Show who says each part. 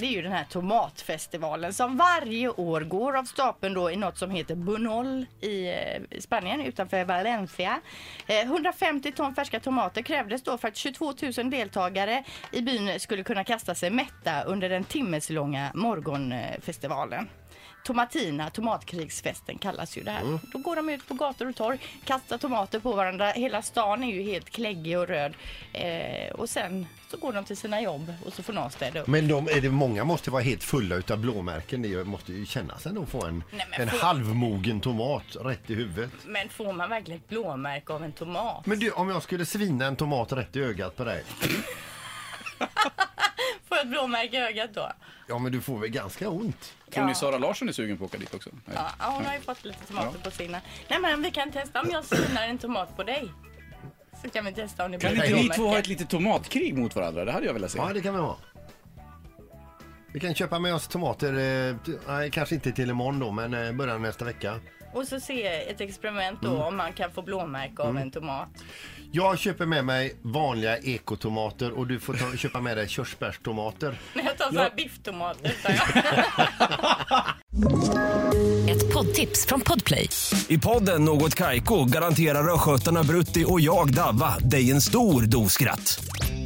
Speaker 1: Det är ju den här tomatfestivalen som varje år går av stapeln då i något som heter Bunol i eh, Spanien utanför Valencia. Eh, 150 ton färska tomater krävdes då för att 22 000 deltagare i byn skulle kunna kasta sig mätta under den timmeslånga morgonfestivalen. Tomatina, tomatkrigsfesten kallas ju det här. Då går de ut på gator och torg, kastar tomater på varandra. Hela stan är ju helt kläggig och röd. Eh, och sen så går de till sina jobb och så får någon städa upp.
Speaker 2: Men de, är det, många måste vara helt fulla utav blåmärken. Det måste ju kännas ändå att få en,
Speaker 1: Nej, men
Speaker 2: en
Speaker 1: får-
Speaker 2: halvmogen tomat rätt i huvudet.
Speaker 1: Men får man verkligen ett blåmärke av en tomat?
Speaker 2: Men du, om jag skulle svina en tomat rätt i ögat på dig.
Speaker 1: Får jag ett blåmärke i ögat då?
Speaker 2: Ja, men du får väl ganska ont?
Speaker 3: Tror ni Sara Larsson är sugen på att åka dit också? Nej.
Speaker 1: Ja, ja, hon har ju fått lite tomater på sina. Nej men vi kan testa om jag svinar en tomat på dig. Så kan vi testa om det
Speaker 3: Kan
Speaker 1: blir
Speaker 3: inte ni två ha ett
Speaker 1: blåmärke.
Speaker 3: litet tomatkrig mot varandra? Det hade jag velat se.
Speaker 2: Ja, det kan vi ha. Vi kan köpa med oss tomater, eh, t- nej kanske inte till imorgon då, men eh, början av nästa vecka.
Speaker 1: Och så se ett experiment
Speaker 3: Mm.
Speaker 1: då om man kan få blåmärke av en tomat.
Speaker 2: Jag köper med mig vanliga ekotomater och du får ta, köpa med dig körsbärstomater.
Speaker 1: Men jag tar så här bifftomater utan jag.
Speaker 4: Ett poddtips från Podplay.
Speaker 5: I podden Något Kaiko garanterar östgötarna Brutti och jag, Davva, dig en stor dos skratt.